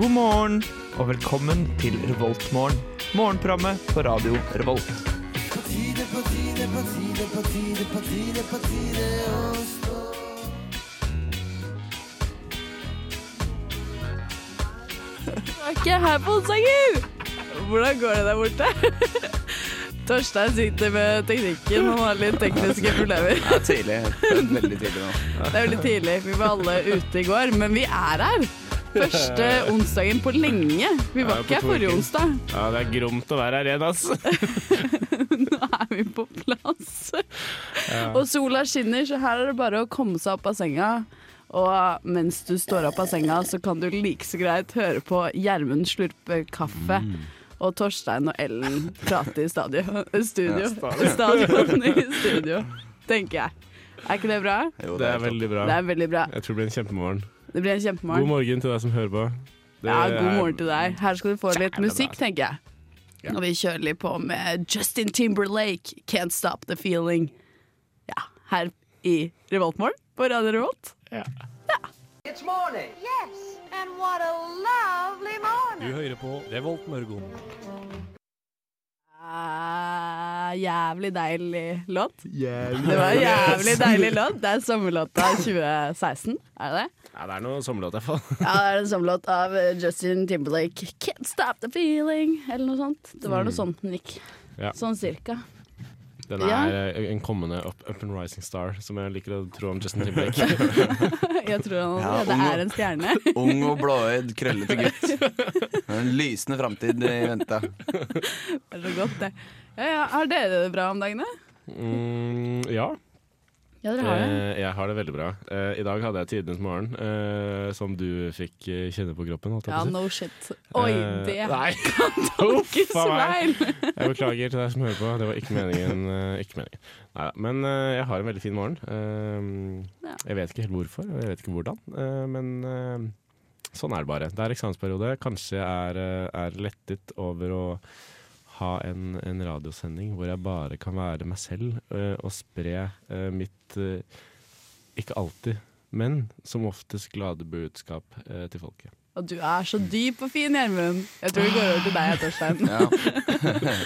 God morgen og velkommen til Revoltmorgen. Morgenprogrammet på radio Revolt. Jeg er ikke her på onsdager! Hvordan går det der borte? Torstein sitter med teknikken, han har litt tekniske problemer. Det er tidlig. Det er Veldig tidlig nå. Det er veldig tidlig, vi var alle ute i går, men vi er her. Første onsdagen på lenge. Vi var Ja, på ikke her to forrige uker. onsdag. Ja, det er gromt å være her igjen, ass. Nå er vi på plass. Og sola skinner, så her er det bare å komme seg opp av senga. Og mens du står opp av senga, så kan du like så greit høre på Gjermund slurpe kaffe. Og Torstein og Ellen prate i stadio. eh, Studio. Stadion i studio, tenker jeg. Er ikke det bra? Jo, Det er helt veldig bra. Det er veldig bra. Jeg tror det blir en kjempemorgen. Det blir en God kjempemorgen. morgen til deg som hører på. Det Ja, god er- morgen til deg. Her skal du få litt Jævla musikk, tenker jeg. Ja. Og vi kjører litt på med Justin Timberlake, 'Can't Stop The Feeling'. Ja, her i Revoltmorgen på Radio Revolt. It's morning. Yes, and what a lovely morning. Du hører på Revolt Mørgon. Ah, jævlig deilig låt. Det var en jævlig deilig låt. Det er sommerlåta 2016, er det det? Ja, det er noe sommerlåt, i hvert fall. Ja, det er en sommerlåt av eh, Justin Timberlake. 'Can't Stop The Feeling', eller noe sånt. Det var noe sånt den gikk. Mm. Ja. Sånn cirka. Den Ja. er eh, en kommende up, up and rising star, som jeg liker å tro om Justin Timberlake. Jeg tror han Ja, allerede ung- er en stjerne. Ung og blåøyd, krøllete gutt. En lysende framtid i vente. Det er så godt, det. Ja, ja. Har dere det bra om dagene? Mm, ja, Ja, dere har det. eh, jeg har det veldig bra. Eh, I dag hadde jeg tidenes morgen, eh, som du fikk eh, kjenne på kroppen. holdt jeg Ja, på å si. no shit. Oi, Eh, det er Nei, ikke Uff, så faen meg. feil! Jeg beklager til deg som hører på. Det var ikke meningen. eh, Ikke meningen. Neida, Men eh, jeg har en veldig fin morgen. Eh, Ja. Jeg vet ikke helt hvorfor, og jeg vet ikke hvordan. eh, Men eh, sånn er det bare. Det er eksamensperiode. Kanskje jeg er, eh, er lettet over å ha en, en radiosending hvor jeg bare kan være meg selv eh, og spre eh, mitt eh, ikke alltid, men som oftest glade budskap eh, til folket. Og du er så dyp og fin, Gjermund. Jeg tror vi går over til deg, Torstein. Ja.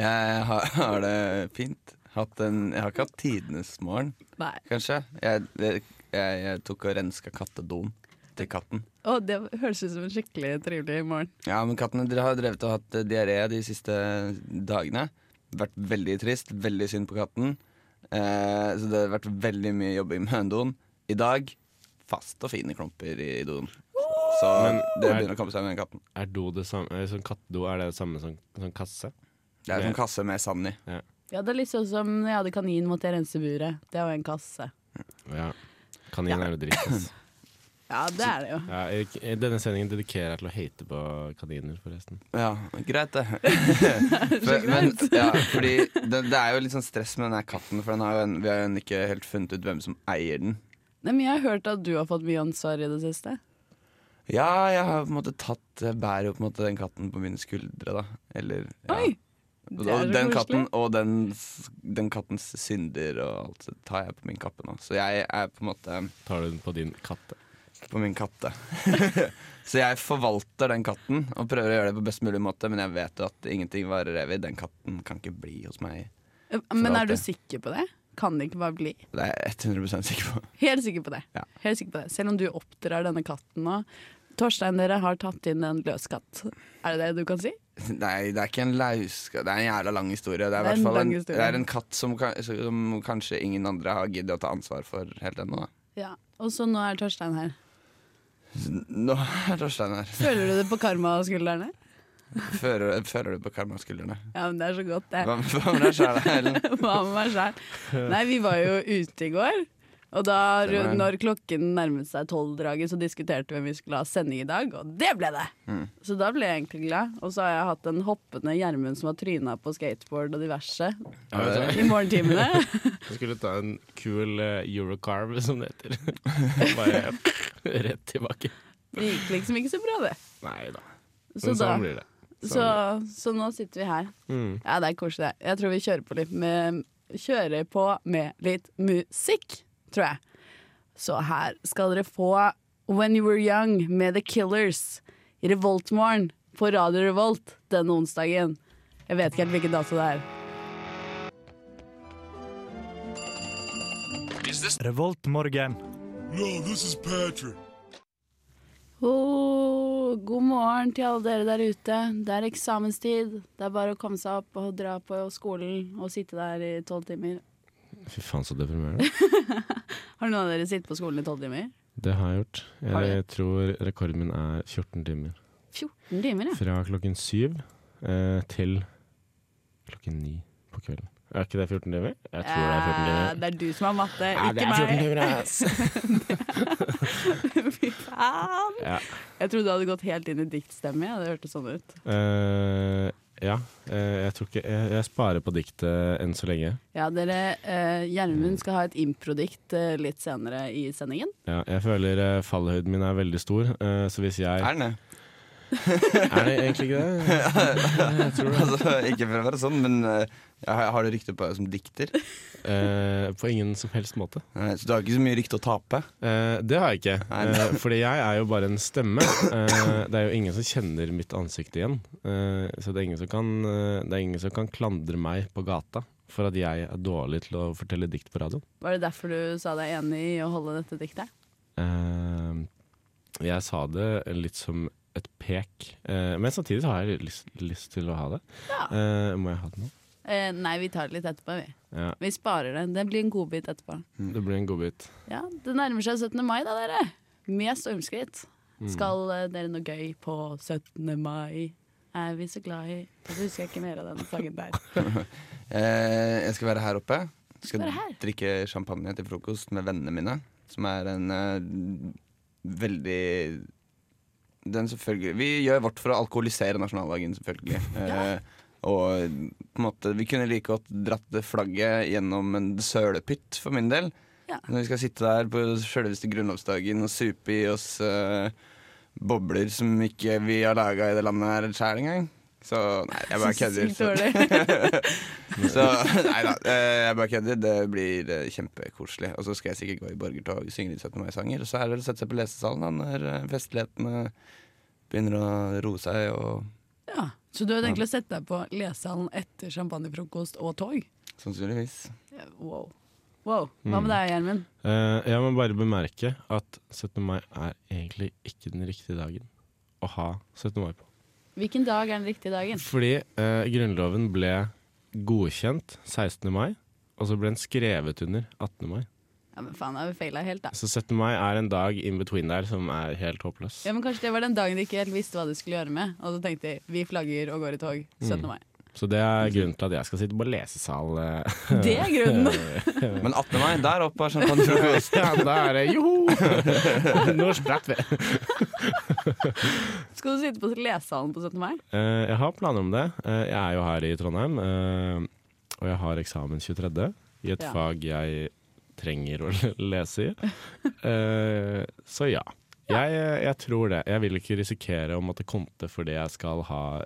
Jeg har, har det fint. Hatt en, jeg har ikke hatt tidenes morgen, Nei. kanskje. Jeg, jeg, jeg tok og renska kattedoen til katten. Å, det høres ut som en skikkelig trivelig morgen. Ja, men kattene dere har drevet og hatt eh, diaré de siste dagene. Vært veldig trist. Veldig synd på katten. Eh, så det har vært veldig mye jobbing med hønedoen. I dag fast og fine klumper i doen. Så Men- det begynner å komme seg med den katten. Er do det samme, eh, sånn kattdo er det det samme som som kasse? Det er en sånn kasse med sand i. Ja, det er litt sånn som når jeg hadde kanin, måtte jeg rense buret. Det var en kasse. Ja. Kanin er jo dritt, ass. Ja, det er det jo. Ja, jeg, denne sendingen dedikerer jeg til å hate på kaniner, forresten. Ja, greit det. For, men, ja, fordi det, det er jo litt sånn stress med den her katten, for den har jo en, vi har jo en ikke helt funnet ut hvem som eier den. Nei, men jeg har hørt at du har fått mye ansvar i det siste. Ja, jeg har på en måte tatt Jeg bærer jo på en måte den katten på mine skuldre, da. Eller ja. Oi! Og Det er så den koselig. katten og den, den kattens synder og alt det tar jeg på min kappe nå. Så jeg er på en måte Tar du den på din katt? på min katte. så jeg forvalter den katten og prøver å gjøre det på best mulig måte, men jeg vet jo at ingenting varer evig. Den katten kan ikke bli hos meg. Eh, Men er du alltid. sikker på det? Kan det ikke bare bli? Det er jeg 100 sikker på. Helt sikker på det. Ja. Helt sikker på det. Selv om du oppdrar denne katten nå. Torstein, dere har tatt inn en løskatt. Er det det du kan si? Nei, det er ikke en lauska Det er en jævla lang historie. Det Det er er, i en hvert fall en, lang historie. det er en katt som, kan- som kanskje ingen andre har giddet å ta ansvar for helt ennå. da. Ja. Og så nå er Torstein her. Nå er Torstein her. Føler du det på karmaskuldrene? Fører, fører du på karmaskuldrene? Ja, men det er så godt, det. Hva hva med deg sjæl, Ellen? Hva med meg selv? Nei, vi var jo ute i går. Og da Det var- når klokken nærmet seg tolvdraget, så diskuterte vi om vi skulle ha sending i dag, og det ble det! Mm. Så da ble jeg egentlig glad. Og så har jeg hatt en hoppende Gjermund som har tryna på skateboard og diverse Jeg i morgentimene. skulle ta en kul eh, eurocarve, som det heter. Bare rett tilbake. Det gikk liksom ikke så bra, det. Nei da. Så, Men da, sånn blir det. så, så nå sitter vi her. Mm. Ja, det er koselig. det. Jeg tror vi kjører på litt med, kjører på med litt musikk, tror jeg. Så her skal dere få When You Were Young med The Killers. i Revoltmorgen på Radio Revolt denne onsdagen. Jeg vet ikke helt hvilken dato det er. Revoltmorgen. Åh, Oh, god morgen til alle dere der ute. Det er eksamenstid. Det er bare å komme seg opp og dra på skolen og sitte der i tolv timer. Fy faen, så deprimerende. Har noen av dere sittet på skolen i tolv timer? Det har jeg gjort. Har Jeg tror rekorden min er 14 timer. 14 timer, ja. Fra klokken syv eh, til klokken ni på kvelden. Er ikke det 14 timer? Jeg tror det er 14 Eh, timer. det er du som har matte, Ja, det ikke er 14 meg. timer, ass. Fy faen. Ja. Jeg trodde det hadde gått helt inn i diktstemme. Ja. Det hørtes sånn ut. Eh, ja. eh, jeg tror ikke jeg, jeg sparer på diktet enn så lenge. Ja, dere, eh, Gjermund skal ha et improdikt eh, litt senere i sendingen. Ja, jeg føler eh, fallhøyden min er veldig stor, eh, så hvis jeg Er den det? Er det egentlig ikke det? Jeg tror det. Altså, ikke for å være sånn, men eh, jeg har, har du rykte på deg som dikter? Eh, på ingen som helst måte. Nei, Så du har ikke så mye rykte å tape? Eh, det har jeg ikke. Nei. Eh, fordi jeg er jo bare en stemme. Eh, det er jo ingen som kjenner mitt ansikt igjen. Eh, så det er, ingen som kan, eh, det er ingen som kan klandre meg på gata for at jeg er dårlig til å fortelle dikt på radioen. Var det derfor du sa deg enig i å holde dette diktet? Eh, jeg sa det litt som et pek, eh, men samtidig så har jeg lyst, lyst til å ha det. Eh, må jeg ha det nå? Eh, nei, vi tar det litt etterpå, vi. Ja, Vi sparer det. Det blir en godbit etterpå. det blir en godbit. Ja, Det nærmer seg 17. mai, da, dere. Med stormskritt. Mm. Skal eh, dere noe gøy på 17. mai? Er vi så glad i Da husker jeg ikke mer av den sangen der. Eh, jeg skal være her oppe. Skal være her? drikke champagne til frokost med vennene mine, som er en eh, veldig den selvfølgelig Vi gjør vårt for å alkoholisere nasjonaldagen, selvfølgelig. Eh, og på en måte, vi kunne like godt dratt det flagget gjennom en sølepytt, for min del. Ja. Når vi skal sitte der på sjølveste grunnlovsdagen og supe i oss eh, bobler som ikke vi har laga i det landet her sjæl engang. Så nei, jeg bare kødder. Sykt dårlig. Så nei da, eh, jeg bare kødder. Det blir eh, kjempekoselig. Og så skal jeg sikkert gå i borgertog og synge litt 17. mai-sanger. Og så er det å sette seg på lesesalen da, når eh, festlighetene begynner å roe seg. Og Ja, Så du har tenkt å sette deg på lesesalen etter champagnefrokost og tog? sannsynligvis. Ja, Wow. wow. Hva med deg, Gjermund? Eh, jeg må bare bemerke at 17. mai er egentlig ikke den riktige dagen å ha 17. mai på. Hvilken dag er den riktige dagen? Fordi eh, Grunnloven ble godkjent 16. mai, og så ble den skrevet under 18. mai. Ja, men faen, da har vi feila helt, da. Så 17. mai er en dag in between der som er helt håpløs. Ja, men Kanskje det var den dagen de ikke helt visste hva de skulle gjøre med. Og så tenkte de vi flagger og går i tog 17. mai. Så det er grunnen til at jeg skal sitte på lesesal. eh. Det er grunnen! Men 18. mai, der oppe er champagnefrokost. ja, da er det joho! Nå spratt vi. Skal du sitte på lesesalen på 17. mai? Eh, jeg har planer om det. Eh, jeg er jo her i Trondheim, eh, og jeg har eksamen 23. i et Ja. fag jeg trenger å lese i. Eh, så ja. Jeg, eh, jeg tror det. Jeg vil ikke risikere å måtte konte fordi jeg skal ha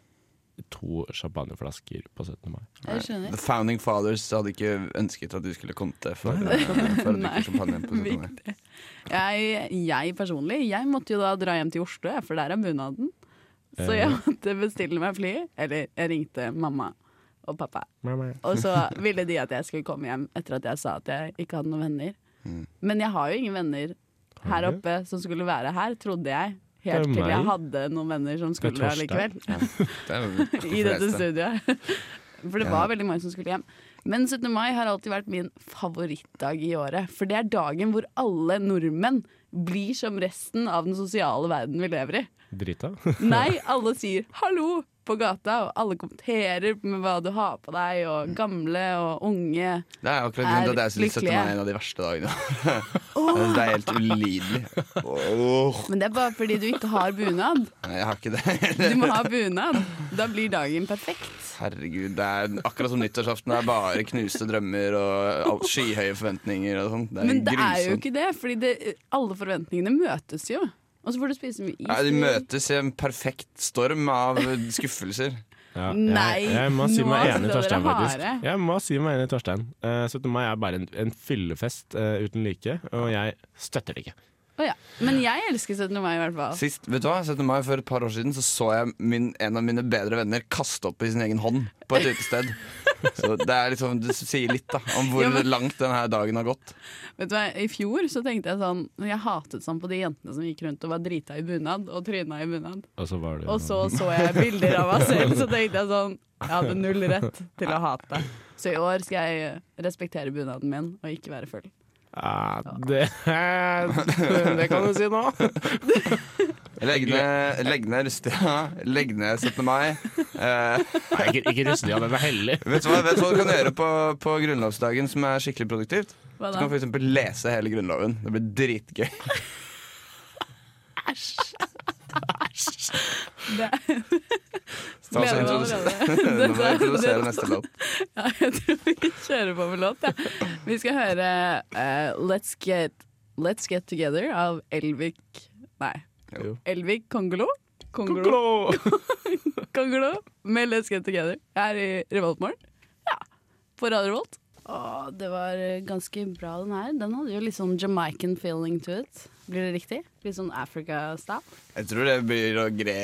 to champagneflasker på 17. mai. Jeg skjønner. The Founding Fathers hadde ikke ønsket at du skulle komme til for, Nei. eh, for å drikke champagne på 17. mai. Viktig. Jeg, jeg personlig jeg måtte jo da dra hjem til Oslo, jeg, for der er bunaden. Så jeg måtte bestille meg fly. Eller jeg ringte mamma og pappa. Og så ville de at jeg skulle komme hjem etter at jeg sa at jeg ikke hadde noen venner. Men jeg har jo ingen venner her Mm. Har du? oppe som skulle være her, trodde jeg. er Helt til jeg meg. hadde noen venner som Det er skulle være likevel. Det er jo I dette forresten. studioet. For det Ja. var veldig mange som skulle hjem. Men 17. mai har alltid vært min favorittdag i året. For det er dagen hvor alle nordmenn blir som resten av den sosiale verden vi lever i. Drita. Nei, alle sier 'hallo' på gata, og alle kommenterer med hva du har på deg, og gamle og unge. Det er akkurat grunnen til at jeg synes Er 17. mai er en av de verste dagene. det er helt ulidelig. Åh. Men det er bare fordi du ikke har bunad. Nei, jeg har ikke det. Du må ha bunad. Da blir dagen perfekt. Herregud, det er akkurat som nyttårsaften. Det er bare knuste drømmer og alt- skyhøye forventninger og sånt. Det er Men det er jo grusomt. ikke det, fordi det, alle forventningene møtes jo. Og så får du spise mye is. Ja, de møtes i en perfekt storm av skuffelser. Ja, Nei, jeg, jeg må si nå meg enig i skal dere Torstein, faktisk. harde. Jeg må si meg enig i Torstein. Eh, 17. mai er bare en, en fyllefest eh, uten like, og jeg støtter det ikke. Å ja. Men jeg elsker 17. mai i hvert fall. Sist, vet du hva, 17. mai For et par år siden så, så jeg min, en av mine bedre venner kaste opp i sin egen hånd på et utested. Så det, er liksom, det sier litt da om hvor Ja, men- langt denne dagen har gått. Vet du hva, I fjor så tenkte jeg sånn Jeg hatet sånn på de jentene som gikk rundt og var drita i bunad og tryna i bunad. Og så var det Og så så jeg bilder av meg selv, så tenkte jeg sånn Jeg hadde null rett til å hate. Så i år skal jeg eh, respektere bunaden min og ikke være full. Ja, det, det kan du si nå. Legg ned, legg ned Rustia. Legg ned 17. mai. Eh, Nei, ikke, ikke rust, ja, den er hellig. vet, du hva, vet du hva du kan gjøre på, på grunnlovsdagen som er skikkelig produktivt? Hva Du da? kan f.eks. lese hele Grunnloven. Det blir dritgøy. Det Ta oss og Gleder meg allerede. introdusere- Nå må jeg Dette er- introdusere neste låt. Ja, jeg tror vi kjører på med låt, jeg. Ja. Vi skal høre eh, Let's, Get, Let's Get Together av Elvik Nei. Jo. Elvik Kongolo. Kongolo. Klå! Kongolo med Let's Get Together her i Revoltmorgen. Ja, på Radio Revolt. Å, det var eh, ganske bra, den her. Den hadde jo litt sånn Jamaican feeling to it. Blir det riktig? Litt sånn Africa-style. Jeg tror det blir å gre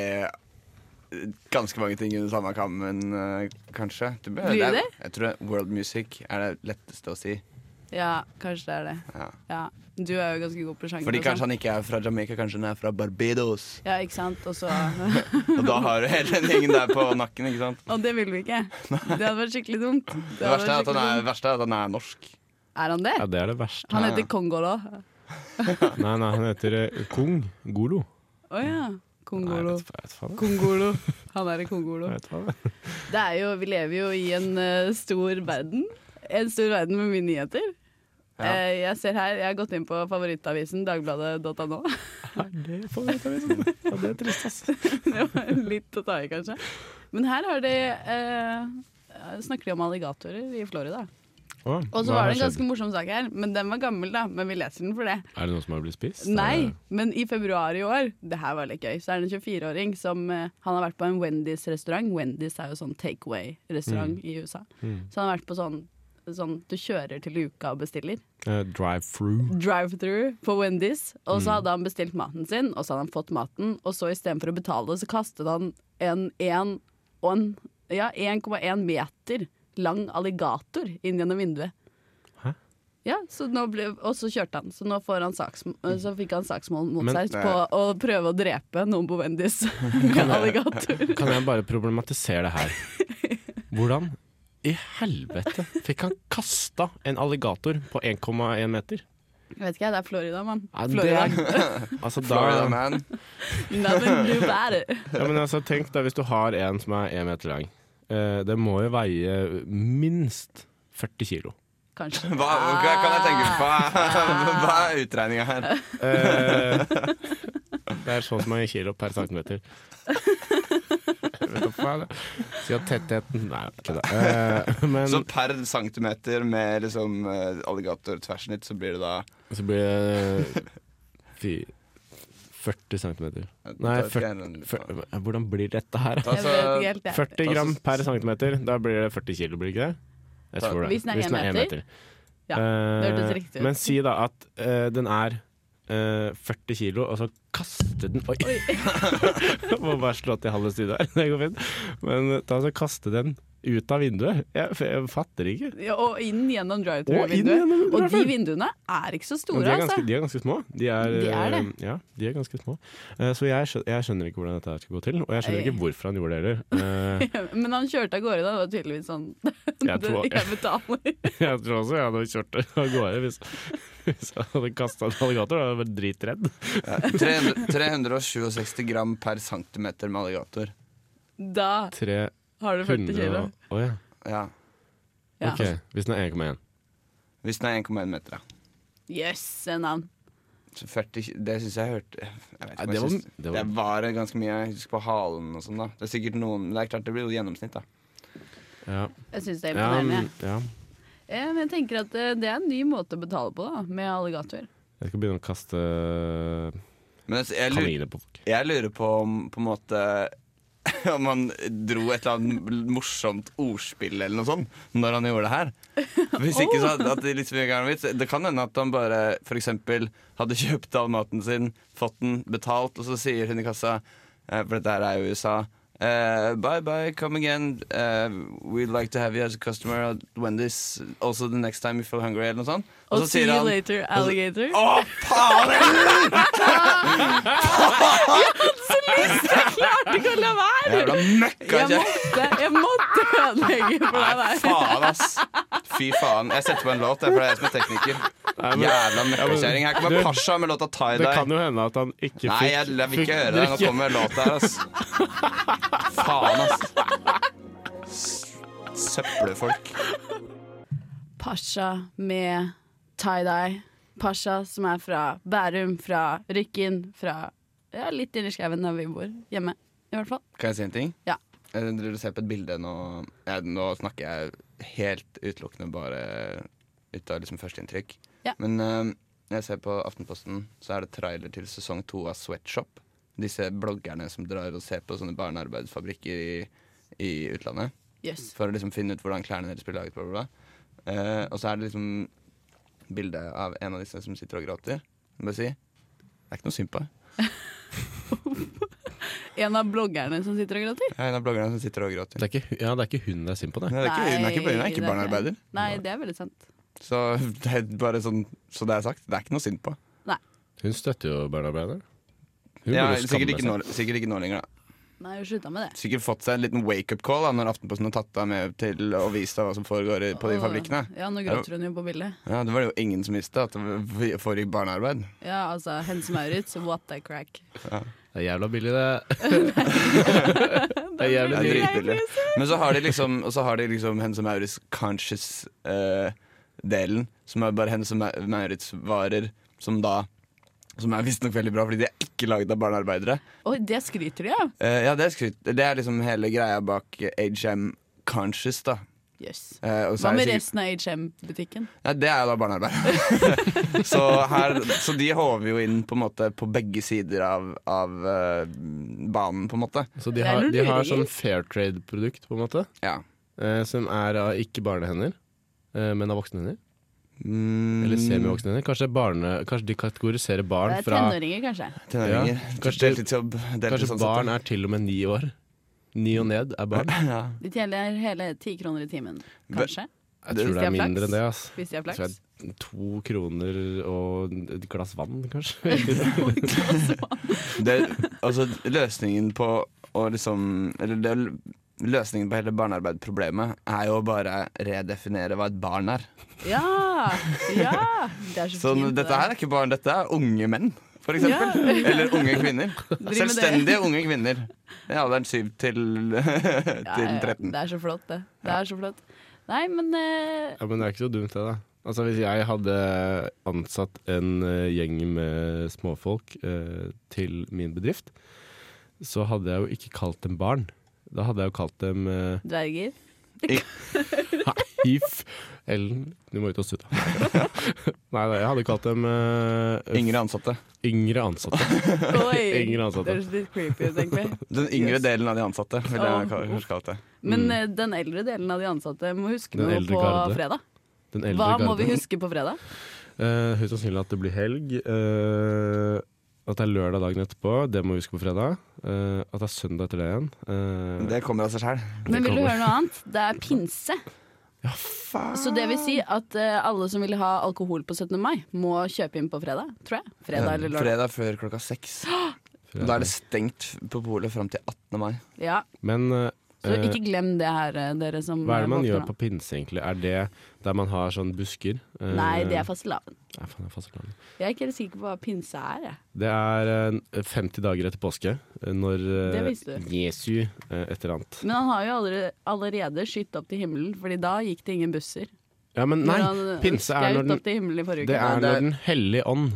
ganske mange ting under samme kammen, eh, kanskje. Det blir, Blir er- det? Jeg tror world music er det letteste å si. Ja, kanskje det er det. Ja. Ja. Du er jo ganske god på sjanger. Fordi og sånn. kanskje han ikke er fra Jamaica, kanskje han er fra Barbados. Ja, ikke sant. Og så Og da har du hele den gjengen der på nakken, ikke sant. Og det vil vi ikke. Det hadde vært skikkelig dumt. Det Det hadde verste vært er at han skikkelig er, dumt. verste er at han er norsk. Er han det? Ja, det er det verste. Han Ja, heter ja. Kongolo. Nei, nei, han heter eh, Kung Golo. Å ja. Nei, jeg Kongolo. vet, jeg vet faen. jeg. Kongolo. Han er i Kongolo. Jeg vet faen. jeg. Det er jo, vi lever jo i en eh, stor verden. En stor verden med mye nyheter. Ja. Eh, jeg ser her, jeg har gått inn på favorittavisen dagbladet.no. Det får vi ta liksom. litt sånn. Ja, det er trist, ass. Det var litt å ta i, kanskje. Men her har de eh, snakker de om alligatorer i Florida. Å, Og så hva var har det en skjedd? ganske morsom sak her, men den var gammel, da. Men vi leser den for det. Er det noen som har blitt spist? Nei, men i februar i år, det her var litt gøy, så er det en 24-åring som eh, Han har vært på en Wendy's-restaurant. Wendy's er jo sånn takeaway-restaurant Mm. i USA. Eh, hmm. Så han har vært på sånn, sånn du kjører til luka og bestiller. Eh, Drive-through. Drive-through på Wendy's. Og Mm. så hadde han bestilt maten sin, og så hadde han fått maten, og så istedenfor å betale, så kastet han en en- og en- ja, 1,1 meter lang alligator inn gjennom vinduet. Hæ? Ja, så nå ble, og så kjørte han. Så nå får han saksm- så fikk han saksmål mot Men- seg på å prøve å drepe noen på Wendy's med alligator. Kan jeg bare problematisere det her? Hvordan i helvete fikk han kasta en alligator på 1,1 meter? Jeg vet ikke, jeg, det er Florida, mann. Ja, det Florida. Altså, da, Florida man. Nothing to do about it. ja, men altså, tenk deg hvis du har en som er 1 meter lang. Eh, det må jo veie minst 40 kilo. Kanskje. Hva, hva kan jeg tenke på? Hva er utregninga her? Eh, det er sånn som mange kilo per centimeter. Si at tettheten Nei, ikke det. Eh, men Så så, per centimeter med liksom eh, alligator-tversnitt, så blir det da blir det fi- 40 centimeter. Nei, 40, hvordan blir dette her? Altså, Ta Jeg vet ikke så helt, jeg. 40 gram per centimeter, da blir det 40 kilo, blir det ikke det? Jeg tror det. Hvis den er en en meter. Ja, det hørtes Eh, riktig ut. Men si da at eh, den er eh, 40 kilo, og så kaste den Oi! Må bare slå til halve studioet her, det går fint. Men eh, da så kaste den ut av vinduet. Jeg, f- jeg fatter ikke. Ja, og inn gjennom Og inn drive-through-vinduet. gjennom Og de drive-thru. vinduene er ikke så Men store, de, er ganske, altså. de er ganske små. De er, De er det. eh, Ja, de er ganske små. Eh, så jeg skjønner, jeg skjønner ikke hvordan dette her skal gå til, og jeg skjønner Nei. ikke hvorfor han gjorde det heller. Eh, Men han kjørte av gårde da. Det var tydeligvis sånn Jeg tror- Jeg betaler. jeg tror også jeg hadde kjørt det av gårde hvis, hvis jeg hadde kasta en alligator. Da hadde jeg vært dritredd. 300, 367 gram per centimeter med alligator. Da har du 40 300 kilo. og- Å ja. Ja. Ja. Ok, hvis den er 1,1. Hvis den er 1,1 meter, da. Yes, en annen. Så 40, ki- det syns jeg jeg hørte jeg vet Ja, ikke, om det jeg var- syns- det var- det var ganske mye. Jeg husker på halen og sånn, da. Det er sikkert noen Det er klart det blir jo gjennomsnitt, da. Ja. Jeg syns det er Ja, imponerende. men- ja. Ja, men jeg tenker at eh, det er en ny måte å betale på, da, med alligator. Jeg skal begynne å kaste Men jeg, jeg, lurer, kaniner på folk. jeg lurer på om på en måte om han dro et eller annet morsomt ordspill eller noe sånt når han gjorde det her. Hvis ikke så hadde at det liksom ikke er noen vits. Det kan hende at han bare for eksempel hadde kjøpt all maten sin, fått den betalt, og så sier hun i kassa, eh, for dette her er jo USA eh, bye bye, come again. eh, we'd like to have you as a customer at Wendy's also the next time you feel hungry. Eller noe sånt. Og see you later, alligator. Å, faen! Jeg kan la være! Jævla altså." Jeg møkkakjeft! måtte, jeg måtte ødelegge for deg Nei, der. faen, ass. Fy faen. Jeg setter på en låt, jeg, for det er jeg som er tekniker. men- Jævla møkkakjerring. Her kommer Du- Pasha med låta Tie Det kan Dye. jo hende at han ikke fikk Nei, jeg, jeg vil ikke fikk høre det. Nå drikke. kommer låta her, ass. Faen, ass. S- Søppelfolk. Pasha med tie-dye. Pasha som er fra Bærum, fra Rykken, fra ja, litt inni skauen der vi bor. Hjemme, i hvert fall. Kan jeg si en ting? Ja. Jeg driver og ser på et bilde nå. Jeg, nå snakker jeg helt utelukkende bare ut av liksom førsteinntrykk. Ja. Men eh, når jeg ser på Aftenposten, så er det trailer til sesong to av Sweatshop. Disse bloggerne som drar og ser på sånne barnearbeidsfabrikker i, i utlandet. Jøss. For å liksom finne ut hvordan klærne deres blir laget. Bla, bla, bla. Eh, og så er det liksom bilde av en av disse som sitter og gråter. Må jeg si. Det er ikke noe synd på. deg. En av bloggerne som sitter og gråter. Jeg er en av bloggerne som sitter og gråter. Det er ikke, ja, det er ikke hun det er synd på, det. Nei, det er ikke, hun er ikke, hun er det ikke barnearbeider. Nei, det er veldig sant. Så det er bare sånn Så det er sagt, det er ikke noe synd på. Hun støtter jo barnearbeidere. Hun Ja, burde jo sikkert, skamme ikke seg. nå, sikkert ikke nå lenger, da. Nei, slutta med det. Sikkert fått seg en liten wake-up call da når Aftenposten har tatt deg med til og vist deg hva som foregår i- på de Åh, fabrikkene. Ja, nå gråter hun jo på bildet. Ja, Det var det jo ingen som visste, at det v- foregikk barnearbeid. Ja, altså, Hense Maurits, what the crack. Det er jævla billig, det. det er Det jævlig er billig. dritbillig. Men så har de liksom Og så har de liksom Hense Maurits Conscious-delen, som er bare Hense Ma- Maurits-varer, som da Som er visstnok veldig bra, fordi de er ikke laget av barnearbeidere. Oi, det skryter de av! Eh, ja, det er skryt. Det er liksom hele greia bak HM Conscious, da. Jøss. Eh, og så Hva er det med sikkert- resten av HM-butikken? Nei, det er jo da barnearbeid. så, her, så de håver jo inn på, en måte, på begge sider av, av eh, banen, på en måte. Så de Det er har, noe de har lureri. sånn fair trade-produkt, på en måte. Ja. Eh, som er av ikke barnehender, eh, men av voksne hender. Mm, Eller semivoksne hender. Kanskje, barne, kanskje de kategoriserer barn Det er fra tenåringer, kanskje. Tenåringer. Ja. Kanskje Kanskje- deltidsjobb. sånn Kanskje barn er til og med ni år. Ni og ned er barn. ja. De tjener hele ti kroner i timen, kanskje. Jeg tror Hvis det de er har flaks. mindre enn det. ass Hvis de har Jeg tror flaks. det er To kroner og et glass vann, kanskje. Det, altså, løsningen på å liksom Eller det, løsningen på hele barnearbeidproblemet er jo å bare redefinere hva et barn er. Ja! ja Det er så, Så fint. dette her er ikke barn, dette er unge menn. For eksempel. Eller unge kvinner. det. Selvstendige unge kvinner. I alderen 7 til, til 13. Det er så flott, det. Det er så flott. Nei, men eh, Ja, men det er ikke så dumt det, da. Altså, hvis jeg hadde ansatt en eh, gjeng med småfolk eh, til min bedrift, så hadde jeg jo ikke kalt dem barn. Da hadde jeg jo kalt dem eh, dverger If Ellen, du må ut og studere. Nei, nei, jeg hadde kalt dem eh, Yngre ansatte. yngre ansatte. Oi! Yngre ansatte. Det høres litt creepy ut, egentlig. Den yngre delen av de ansatte, vil Ja. jeg ka- kanskje kalle det. Men eh, den eldre delen av de ansatte må huske Den noe eldre på garde. fredag. Den eldre Hva må garden. vi huske på fredag? Eh, Høyst sannsynlig at det blir helg. eh, at det er lørdag dagen etterpå, det må vi huske på fredag. Eh, at det er søndag etter det igjen. eh, Det kommer av seg sjøl. Men vil du kommer. høre noe annet? Det er pinse. Ja, faen! Så det vil si at eh, alle som vil ha alkohol på 17. mai, må kjøpe inn på fredag, tror jeg. Fredag eller lørdag. Fredag før klokka seks. Da er det stengt på polet fram til 18. mai. Ja, Men eh, Så ikke glem det her, eh, dere som hva er det man eh, gjør våkner på nå. pinse, egentlig? Er det der man har sånn busker? eh, Nei, det er fastelavn. Nei, faen, jeg er fastelavn. Jeg er ikke helt sikker på hva pinse er, jeg. Det er eh, 50 dager etter påske, eh, når eh, Det visste du. Jesu eh, et eller annet Men han har jo allerede, allerede skytt opp til himmelen, Fordi da gikk det ingen busser. Ja, men nei, Når han pinse er skrek når den- opp til himmelen i forrige det uke. er det er- når Den hellige ånd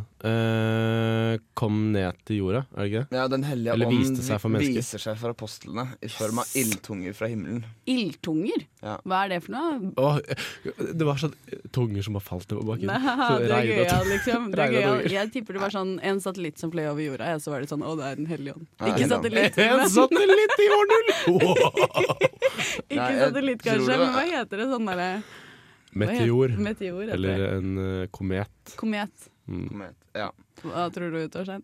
eh, kom ned til jorda, er det ikke det? Ja, Den hellige Eller ånd viste seg for mennesker. viser seg for apostlene i form av ildtunger fra himmelen. Ildtunger? Ja. Hva er det for noe? Åh, det var sånn tunger som bare falt over bakken. Nei, det er regnet. gøyal, liksom. Det er Regnet gøyal. tunger. Jeg tipper det var sånn en satellitt som fløy over jorda, ja, så var det sånn Å, det er Den hellige ånd. Ja, Ikke en satellitt, En men, satellitt i år null! ikke Nei, jeg satellitt tror kanskje, det men var- hva heter det sånn derre hva heter- Meteor. Meteor heter Eller det. en eh, komet. Komet. Mm. Ja. Hva tror du, Torstein?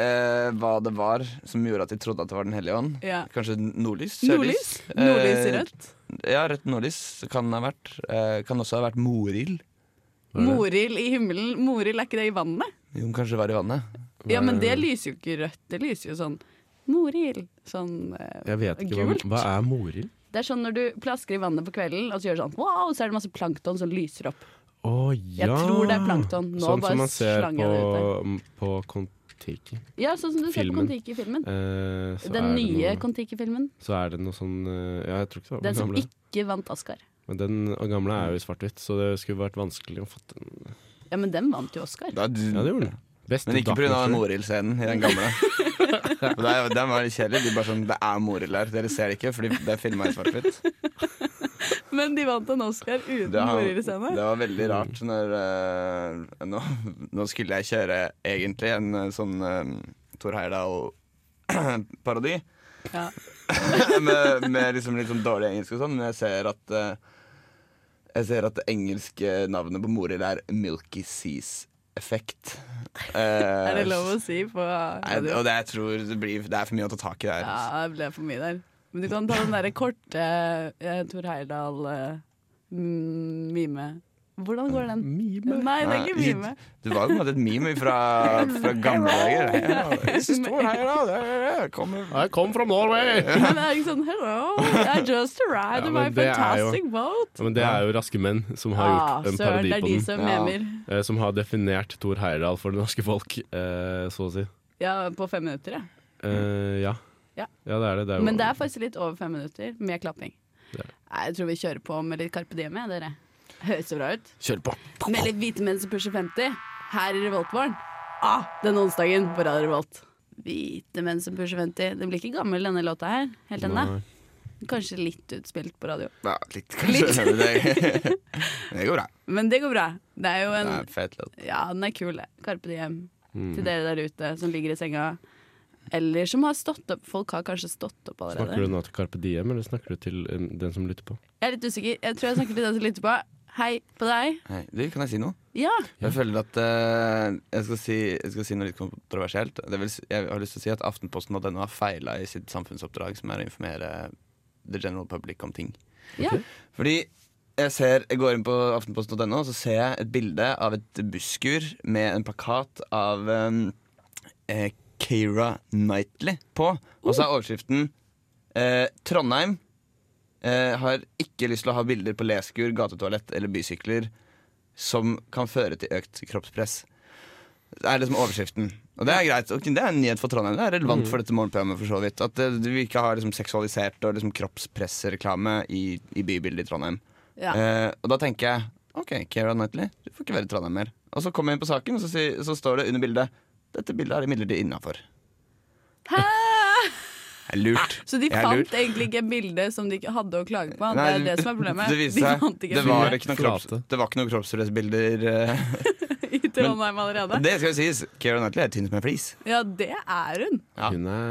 Eh, hva det var som gjorde at de trodde at det var Den hellige ånd. Ja. Kanskje nordlys? Nordlys? Nordlys i Eh, rødt? Ja, rødt nordlys kan ha vært. Eh, kan også ha vært morild. Hva er det? Morild i himmelen. Morild, er ikke det i vannet? Jo, men kanskje det var i vannet. Ja, men Eh. det lyser jo ikke rødt. Det lyser jo sånn Morild. Sånn eh, Jeg vet ikke Gult. hva Hva er morild? Det er sånn når du plasker i vannet på kvelden, og så gjør du sånn wow, så er det masse plankton som lyser opp. Å ja! Jeg tror det er plankton. Nå sånn bare som man ser slang jeg på, det ut på Kon-Tiki. Ja, sånn som du ser på Filmen. Kon-Tiki-filmen. Eh, så Den er det nye noe, Kon-Tiki-filmen. Så er det noe sånn eh, Ja, jeg tror ikke det var Den den som gamle. ikke vant Oscar. Men den gamle er jo i svart-hvitt, så det skulle vært vanskelig å få den. Ja, men den vant jo Oscar. Da, du, Ja, det gjorde den. Beste Men ikke documentary. pga. Morild-scenen i den gamle. For det er- Den var litt kjedelig. De bare sånn Det er Morild her. Dere ser det ikke, fordi det er filma i svart-hvitt. Det, Men de vant en Oscar uten har- morillescene. det var veldig rart når eh, nå, nå skulle jeg kjøre egentlig en eh, sånn uh, Tor Heyerdahl-parodi. Ja. med, med liksom litt sånn dårlig engelsk og sånn, men jeg ser at eh, Jeg ser at det engelske navnet på Morild er Milky Seas Effect. Er det lov å si på Nei, radio? og det, jeg tror det, blir, det er for mye å ta tak i der. Ja, det ble for mye der. Men du kan ta den derre korte eh, Tor Heyerdahl eh, mm, mime. Hvordan går den? Mime. Nei, det er ikke Nei, mime. Det var jo på en måte et meme fra, fra gamle dager. Jeg står her, da. Det- det kommer- I come from Norway! Nei, Men det er ikke sånn Hello, I just arrived Ja, in men my det er jo- fantastic boat. Ja, men det er jo Raske menn som har gjort Ah, en søren, parodi det er på de den. som Ja. memer. eh, Som har definert Thor Heyerdahl for det norske folk, eh, så å si. Ja, på fem minutter, ja. Eh, ja. Ja. det er det. det er jo, Men det er faktisk litt over fem minutter med klapping. Det er det. Nei, Jeg tror vi kjører på med litt Carpe Diem, jeg, dere. Høres det bra ut? Kjør på! Med litt hvite menn som pusher 50 her i Revoltmorgen. Ah, denne onsdagen på Radio Revolt. Hvite menn som pusher 50. Den blir ikke gammel, denne låta her. Helt ennå. Nei. Kanskje litt utspilt på radio. Ja, litt, kanskje. Det, det går bra. Men det går bra. Det er jo Det en er fett låt. Ja, den er kul, det. Carpe Diem. Mm. Til dere der ute som ligger i senga. Eller som har stått opp. Folk har kanskje stått opp allerede. Snakker du nå til Carpe Diem, eller snakker du til eh, den som lytter på? Jeg er litt usikker. Jeg tror jeg snakker til den som lytter på. Hei på deg. Hei, du, kan jeg si noe? Ja. Jeg føler at eh, jeg, skal si, jeg skal si noe litt kontroversielt. Det vil, si- jeg har lyst til å si at Aftenposten og denne har feila i sitt samfunnsoppdrag, som er å informere the general public om ting. ja. Fordi jeg, ser, jeg går inn på aftenposten.no og så ser jeg et bilde av et busskur med en plakat av um, eh, Keira Knightley på. Og så er overskriften eh, Trondheim eh, har ikke lyst til å ha bilder på leskur, gatetoalett eller bysykler som kan føre til økt kroppspress. Det er liksom overskriften. Og det er greit. Ok, det er en nyhet for Trondheim. Det er relevant for dette morgenprogrammet. for så vidt At eh, vi ikke har liksom seksualisert og liksom kroppspressreklame i, i bybildet i Trondheim. ja. Eh, og da tenker jeg OK, Keira Knightley, du får ikke være i Trondheim mer. Og så kommer jeg inn på saken, og så, sier- så står det under bildet Dette bildet er imidlertid innafor. Hæ? Lurt. Så de Jeg er fant lurt. egentlig ikke bildet som de ikke hadde å klage på? Nei, det er det som er problemet. Det viste de seg. fant ikke Det var bildet ikke noen Flate. kropps, det var ikke noen kroppspressbilder. eh. i Trondheim allerede. Det skal jo sies. Keira Knightley er tynn som en flis. Ja, det er hun. Ja. Hun, er,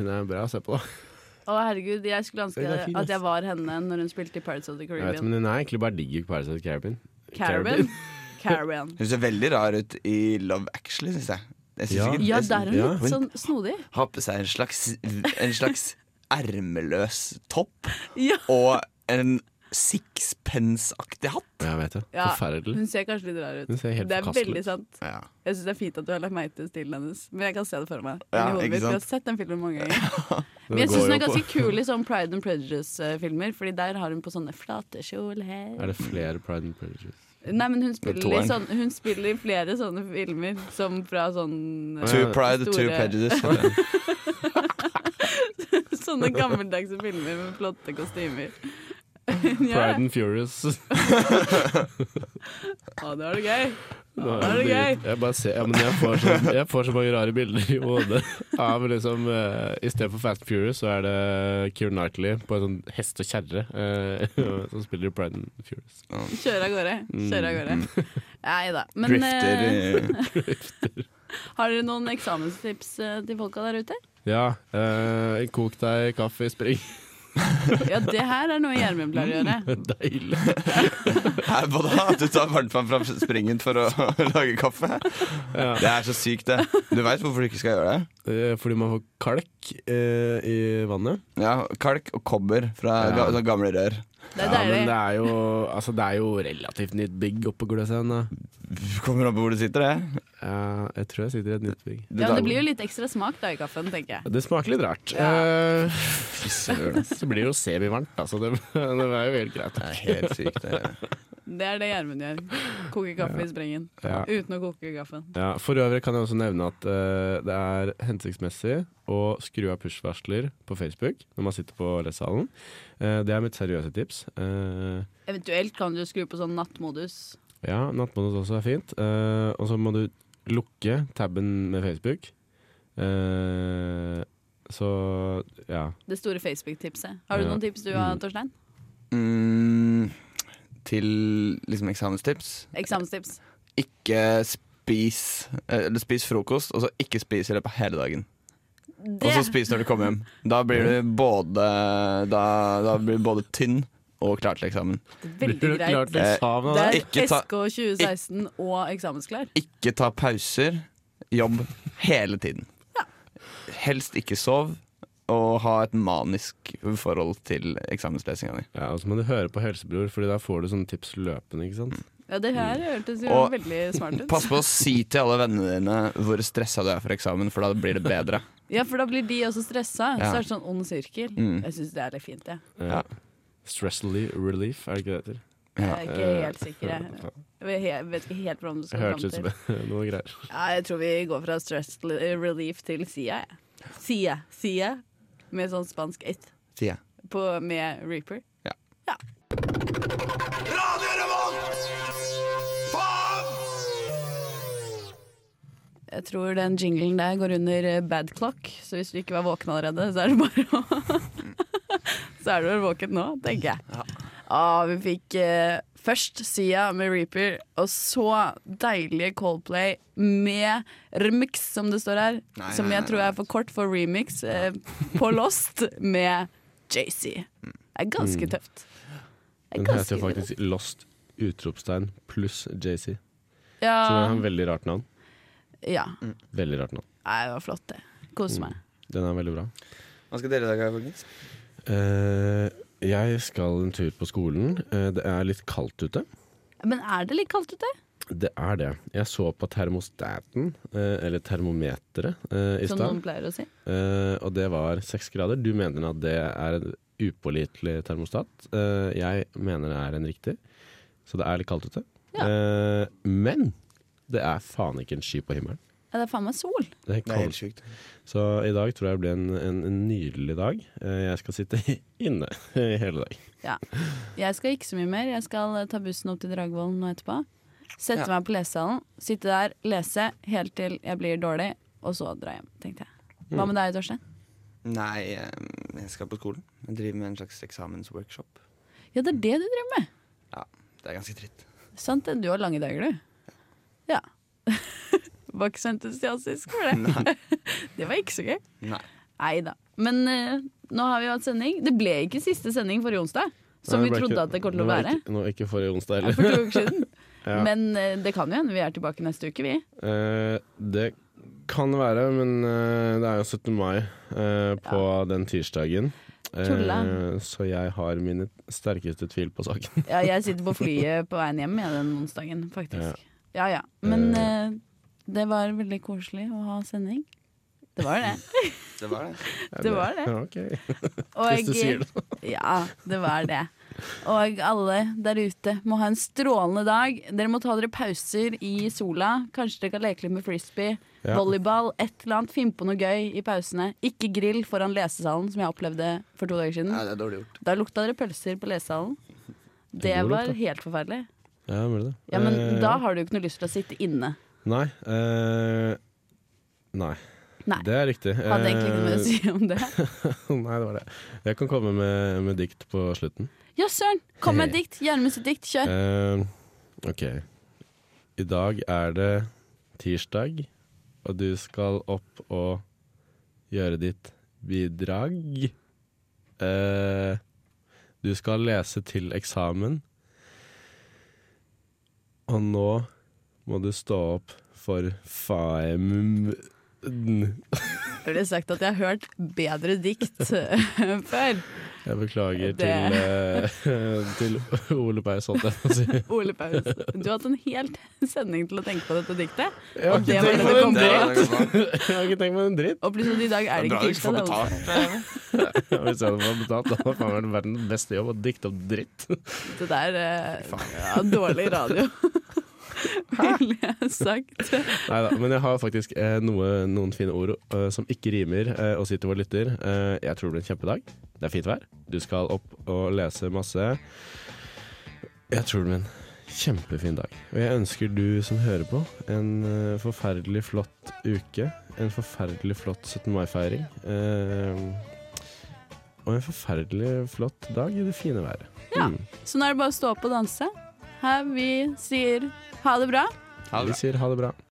hun er bra å se på, da. Å herregud, jeg skulle Hun er fin, ønske at jeg ass. var henne når hun spilte i Pirates of the Jeg vet, Caribbean. men hun er egentlig bare digg i Paradise Caribbean. Caribbean? Caribbean. Hun ser veldig rar ut i Love Actually, syns jeg. jeg synes Ja. ikke, Ja, jeg synes- der er hun Ja. litt sånn snodig. Har på seg en slags En slags ermeløs topp Ja. og en sixpence-aktig hatt. Ja, Jeg vet det. Ja, Forferdelig. Hun ser kanskje litt rar ut. Hun ser helt det er forkastelig veldig ut. sant. Ja. Jeg syns det er fint at du har lagt merke til stilen hennes. Men jeg kan se det for meg. Ja, Inni hodet ikke mitt. Vi sant? har sett den filmen mange ganger. Den Men jeg syns går hun er jo på- ganske kul i sånn Pride and Prejudice-filmer, Fordi der har hun på sånne flate kjoler. Er det flere Pride and Prejudice? Nei, men hun Det er spiller, i toeren. sånn, hun spiller i flere sånne filmer, som fra sånn eh, Two pride, two Store- prejudice. Sånne gammeldagse filmer med flotte kostymer. Pride and Furious. Å, det var det gøy. Nå er det jeg- Jeg bare ser, ja, men jeg får, så, jeg får så mange rare bilder i hodet av liksom eh, I stedet for Fast and Furious, så er det Keira Knightley på en sånn hest og kjerre eh, som spiller i Pride and Furious. Kjøre av gårde. Kjøre av gårde. Mm. Nei da. Men Drifter eh, i har dere noen eksamenstips eh, til folka der ute? Ja. eh, kok deg kaffe i spring. Ja, det her er noe Gjermund pleier å Mm. gjøre. Deilig. Hæ, Hva da? Du tar varmtvann fra springen for å lage kaffe? Ja. Det er så sykt, det. Du veit hvorfor du ikke skal gjøre det? Eh, fordi man får kalk eh, i vannet. Ja, Kalk og kobber fra Ja. ga, sånne gamle rør. Det er Ja, men det deilig. er jo, altså, det er jo relativt nytt bygg oppe på Gløshaugen. da. Kommer an på hvor du sitter, det. Ja, jeg tror jeg sitter i et nytt bygg. Ja, Du men tar- det blir jo litt ekstra smak da i kaffen, tenker jeg. Det smaker litt rart. Eh, så blir det jo semivarmt, altså. Det, det er jo helt greit. Det er helt sykt. Det. Det er det Gjermund gjør. Koke kaffe i sprengen. Ja. Uten å koke kaffen. Ja, for øvrig kan jeg også nevne at eh, det er hensiktsmessig å skru av push-varsler på Facebook når man sitter på lesesalen. Eh, det er mitt seriøse tips. Eh, Eventuelt kan du skru på sånn nattmodus. ja, nattmodus også er fint. Eh, og så må du lukke tabben med Facebook. Eh, så ja. Det store Facebook-tipset. Har du Ja. noen tips du har, Torstein? Mm, til liksom eksamenstips. Eksamenstips. Ikke spis eh, Eller spis frokost, og så ikke spis i løpet av hele dagen. Og så spis når du kommer hjem. Da blir du både, da, da blir du både tynn og klar til eksamen. Veldig greit. til eksamen av Det det? er Ikke ta- SK 2016 og eksamensklær. Ikke ta pauser. Jobb hele tiden. Helst ikke sov. Og ha et manisk forhold til eksamenslesinga di. Ja, og så må du høre på Helsebror, Fordi da får du sånne tips løpende. ikke sant? Ja, det her hørtes jo Mm. Og- veldig smart ut. Pass på å si til alle vennene dine hvor stressa du er for eksamen, for da blir det bedre. Ja, for da blir de også stressa. Ja. Så er det sånn ond sirkel. Mm. Jeg syns det er litt fint, jeg. Ja. Eh, Stress relief, er det ikke det det heter? Jeg er ikke Eh, helt sikker. Jeg Jeg vet jeg vet ikke helt hvordan du Det skal hørtes fram ut som til. noe greier. Ja, jeg tror vi går fra stress eh, relief til Sia, jeg. Sia. Sia. Med sånn spansk ett. Sier jeg. På- Med Reaper. Jeg tror den jinglen der går under eh, bad clock, så hvis du ikke var våken allerede, så er det bare å Så er du vel våken nå, tenker jeg. Ja, vi fikk eh, først Sia med Reaper, og så deilige Coldplay med remix, som det står her. Nei, som nei, jeg nei, tror er for kort for remix, eh, på Lost med JC. Mm. Det er ganske tøft. Det er Mm. Den heter ganske jo tøft. faktisk Lost utropstegn pluss JC. Så det er Ja. en veldig rart navn. ja. Veldig rart navn. Nei, det var flott, det. Mm. Kose meg. Den er veldig bra. Hva skal dere i dag, folkens? Eh, jeg skal en tur på skolen. Eh, det er litt kaldt ute. Men er det litt kaldt ute? Det er det. Jeg så på termostaten, eh, eller termometeret, eh, i Som noen stad. pleier å si. Eh, og det var seks grader. Du mener at det er en upålitelig termostat. Eh, jeg mener det er en riktig. Så det er litt kaldt ute. Ja. Eh, men det er faen ikke en sky på himmelen. Ja, det er faen meg sol. Det er kaldt. sjukt. Så i dag tror jeg blir en, en, en nydelig dag. Eh, Jeg skal sitte inne i hele dag. Ja. Jeg skal ikke så mye mer. Jeg skal eh, ta bussen opp til Dragvollen nå etterpå. Sette Ja. meg på lesesalen, sitte der, lese helt til jeg blir dårlig, og så dra hjem, tenkte jeg. Mm. Hva med deg, Torstein? Nei, eh, jeg skal på skolen. Jeg driver med en slags eksamensworkshop. Ja, det er det du driver med. Ja, det er ganske dritt. Sant det? Du har lange dager, du. Ja. Var ikke så entusiastisk for det. Nei. Det var ikke så gøy. Nei. Nei da. Men eh, nå har vi jo hatt sending. Det ble ikke siste sending forrige onsdag, som Nei, vi ble trodde ikke- at det kom til å var være. Ikke, nå var ikke forrige onsdag Ja, For heller. to uker siden. Ja. Men eh, det kan jo hende vi er tilbake neste uke, vi. Eh, det kan være, men eh, det er jo 17. mai eh, på den tirsdagen. Eh, Tulla. så jeg har mine sterkeste tvil på saken. Ja, jeg sitter på flyet på veien hjem jeg, den onsdagen, faktisk. Ja ja. Men eh, det var veldig koselig å ha sending. Det var det. Det var det. Det var det. Ja, ok. Og Hvis du sier Ja, det var det. Og alle der ute må ha en strålende dag. Dere må ta dere pauser i sola. Kanskje dere kan leke litt med frisbee, Ja. volleyball, et eller annet. Finn på noe gøy i pausene. Ikke grill foran lesesalen, som jeg opplevde for to dager siden. Nei, det er dårlig gjort. Da lukta dere pølser på lesesalen. Det god lukt, var da. helt forferdelig. Ja, mulig det. Ja, men Eh, da har du jo ikke noe lyst til å sitte inne. Nei. eh, nei. Nei. Det eh. er riktig. Hadde egentlig ikke noe mer å si om det. Nei, det var det. Jeg kan komme med, med dikt på slutten. Ja, søren! Kom med et dikt. Gjerne med sitt dikt. Kjør. Eh, ok. I dag er det tirsdag, og du skal opp og gjøre ditt bidrag. Eh, du skal lese til eksamen, og nå må du stå opp for faem... Jeg Jeg ville sagt at jeg har hørt bedre dikt eh, før. beklager Det- til, eh, til Ole Berg Solte. Jeg Ole Paus, du har hatt en hel sending til å tenke på dette diktet. har Og det ikke var det du tenkt på en kom Det dritt. på. er det godt. Jeg har ikke tenkt på en dritt. Og plutselig i dag er det Bra ikke du ikke får tirsdag. det er betalt. Hvis jeg hadde fått betalt, da hadde faen vært verdens beste jobb å dikte opp dritt. onsdag. Det der eh, ja, dårlig radio, ville jeg sagt. Neida, men jeg har faktisk eh, noe, noen fine ord eh, som ikke rimer, eh, og sier til vår lytter. Eh, jeg tror det blir en kjempedag. Det er fint vær. Du skal opp og lese masse. Jeg tror det blir en kjempefin dag. Og jeg ønsker du som hører på, en eh, forferdelig flott uke. En forferdelig flott 17. mai-feiring. eh, og en forferdelig flott dag i det fine været. Ja. Mm. Så nå er det bare å stå opp og danse. Her vi sier ha det bra. Ha det bra. Vi sier ha det bra.